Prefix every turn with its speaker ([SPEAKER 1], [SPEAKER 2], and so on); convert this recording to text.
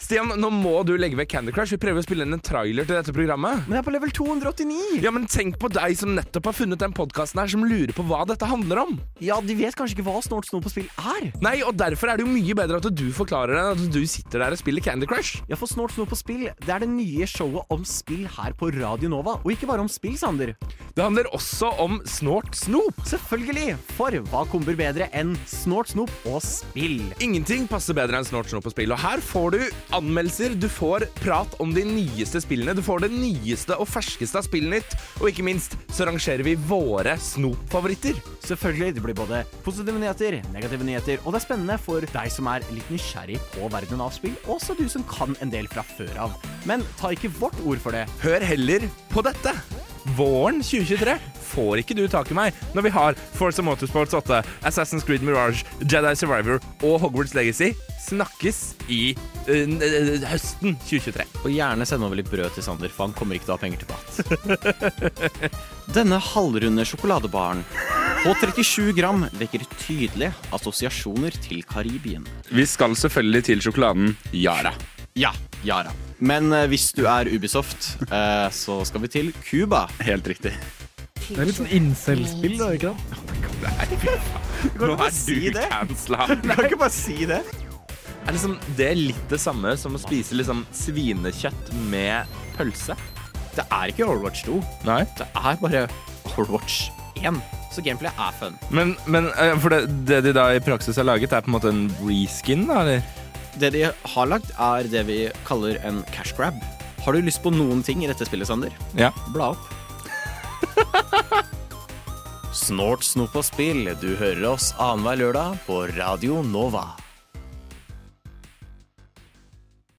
[SPEAKER 1] Stian, nå må du legge vekk Candy Crush. Vi prøver å spille inn en trailer til dette programmet.
[SPEAKER 2] Men jeg er på level 289!
[SPEAKER 1] Ja, men Tenk på deg som nettopp har funnet den podkasten her, som lurer på hva dette handler om.
[SPEAKER 2] Ja, de vet kanskje ikke hva Snort Snor på spill er.
[SPEAKER 1] Nei, og Derfor er det jo mye bedre at du forklarer det, enn at du sitter der og spiller Candy Crush.
[SPEAKER 2] Ja, for Snort Snor på spill, det er det nye showet om spill her på Radio Nova. Og ikke bare om spill, Sander.
[SPEAKER 1] Det handler også om snort snop.
[SPEAKER 2] Selvfølgelig! For hva komber bedre enn Snort Snop og spill?
[SPEAKER 1] Ingenting passer bedre enn snort snop på spill. Og her får du anmeldelser, du får prat om de nyeste spillene, du får det nyeste og ferskeste av Spillnytt, og ikke minst så rangerer vi våre snopfavoritter.
[SPEAKER 2] Selvfølgelig, det blir både positive nyheter, negative nyheter, og det er spennende for deg som er litt nysgjerrig på verdenen av spill, og også du som kan en del fra før av. Men ta ikke vårt ord for det.
[SPEAKER 1] Hør heller på dette. Våren 2023 får ikke du tak i meg når vi har Forza Motorsports 8, Assassin's Creed Mirage, Jedi Survivor og Hogwarts Legacy snakkes i eh, n- eh, høsten 2023.
[SPEAKER 2] Og gjerne send over litt brød til Sander, for han kommer ikke til å ha penger til mat. Denne halvrunde sjokoladebaren på 37 gram vekker tydelige assosiasjoner til Karibien.
[SPEAKER 1] Vi skal selvfølgelig til sjokoladen Yara.
[SPEAKER 2] Ja, Yara. Men eh, hvis du er Ubisoft, eh, så skal vi til Cuba.
[SPEAKER 1] Helt riktig.
[SPEAKER 3] Det er litt sånn incel-spill, da,
[SPEAKER 2] Oh
[SPEAKER 3] ikke sant?
[SPEAKER 1] Nå
[SPEAKER 2] ikke
[SPEAKER 1] er
[SPEAKER 2] si
[SPEAKER 1] du
[SPEAKER 2] det.
[SPEAKER 1] cancela.
[SPEAKER 2] Kan ikke bare si det?
[SPEAKER 1] Er liksom, det er litt det samme som å spise liksom svinekjøtt med pølse.
[SPEAKER 2] Det er ikke Overwatch 2.
[SPEAKER 1] Nei.
[SPEAKER 2] Det er bare Overwatch 1. Så gameplay er fun.
[SPEAKER 1] Men, men eh, for det, det de da i praksis har laget, er på en måte en reskin, da? Eller?
[SPEAKER 2] Det de har lagt, er det vi kaller en cash grab. Har du lyst på noen ting i dette spillet, Sander?
[SPEAKER 1] Ja.
[SPEAKER 2] Bla opp. Snort, snop og spill. Du hører oss annenhver lørdag på Radio Nova.